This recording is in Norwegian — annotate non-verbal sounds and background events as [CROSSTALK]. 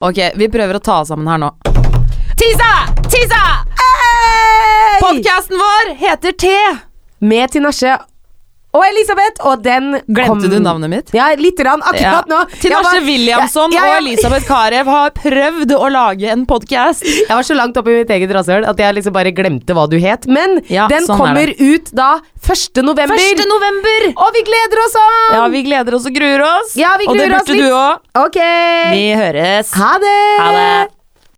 Ok, vi prøver å ta oss sammen her nå. Tisa! Tisa! Podkasten vår heter T. Med Tinashe og Elisabeth, og den Glemte du navnet mitt? Ja, lite grann. Akkurat nå. Jeg Tinashe var- Williamson jeg, jeg, og Elisabeth Carew har prøvd å lage en [LAUGHS] podkast. Jeg var så langt oppe i mitt eget rasshøl at jeg liksom bare glemte hva du het. Men Ja, den sånn er kommer ut da 1. november. 1. november! Og vi gleder oss sånn! Ja, vi gleder oss og gruer oss. Ja, vi og det gruer oss burde litt. du òg. Ok. Vi høres. Ha det! Ha det.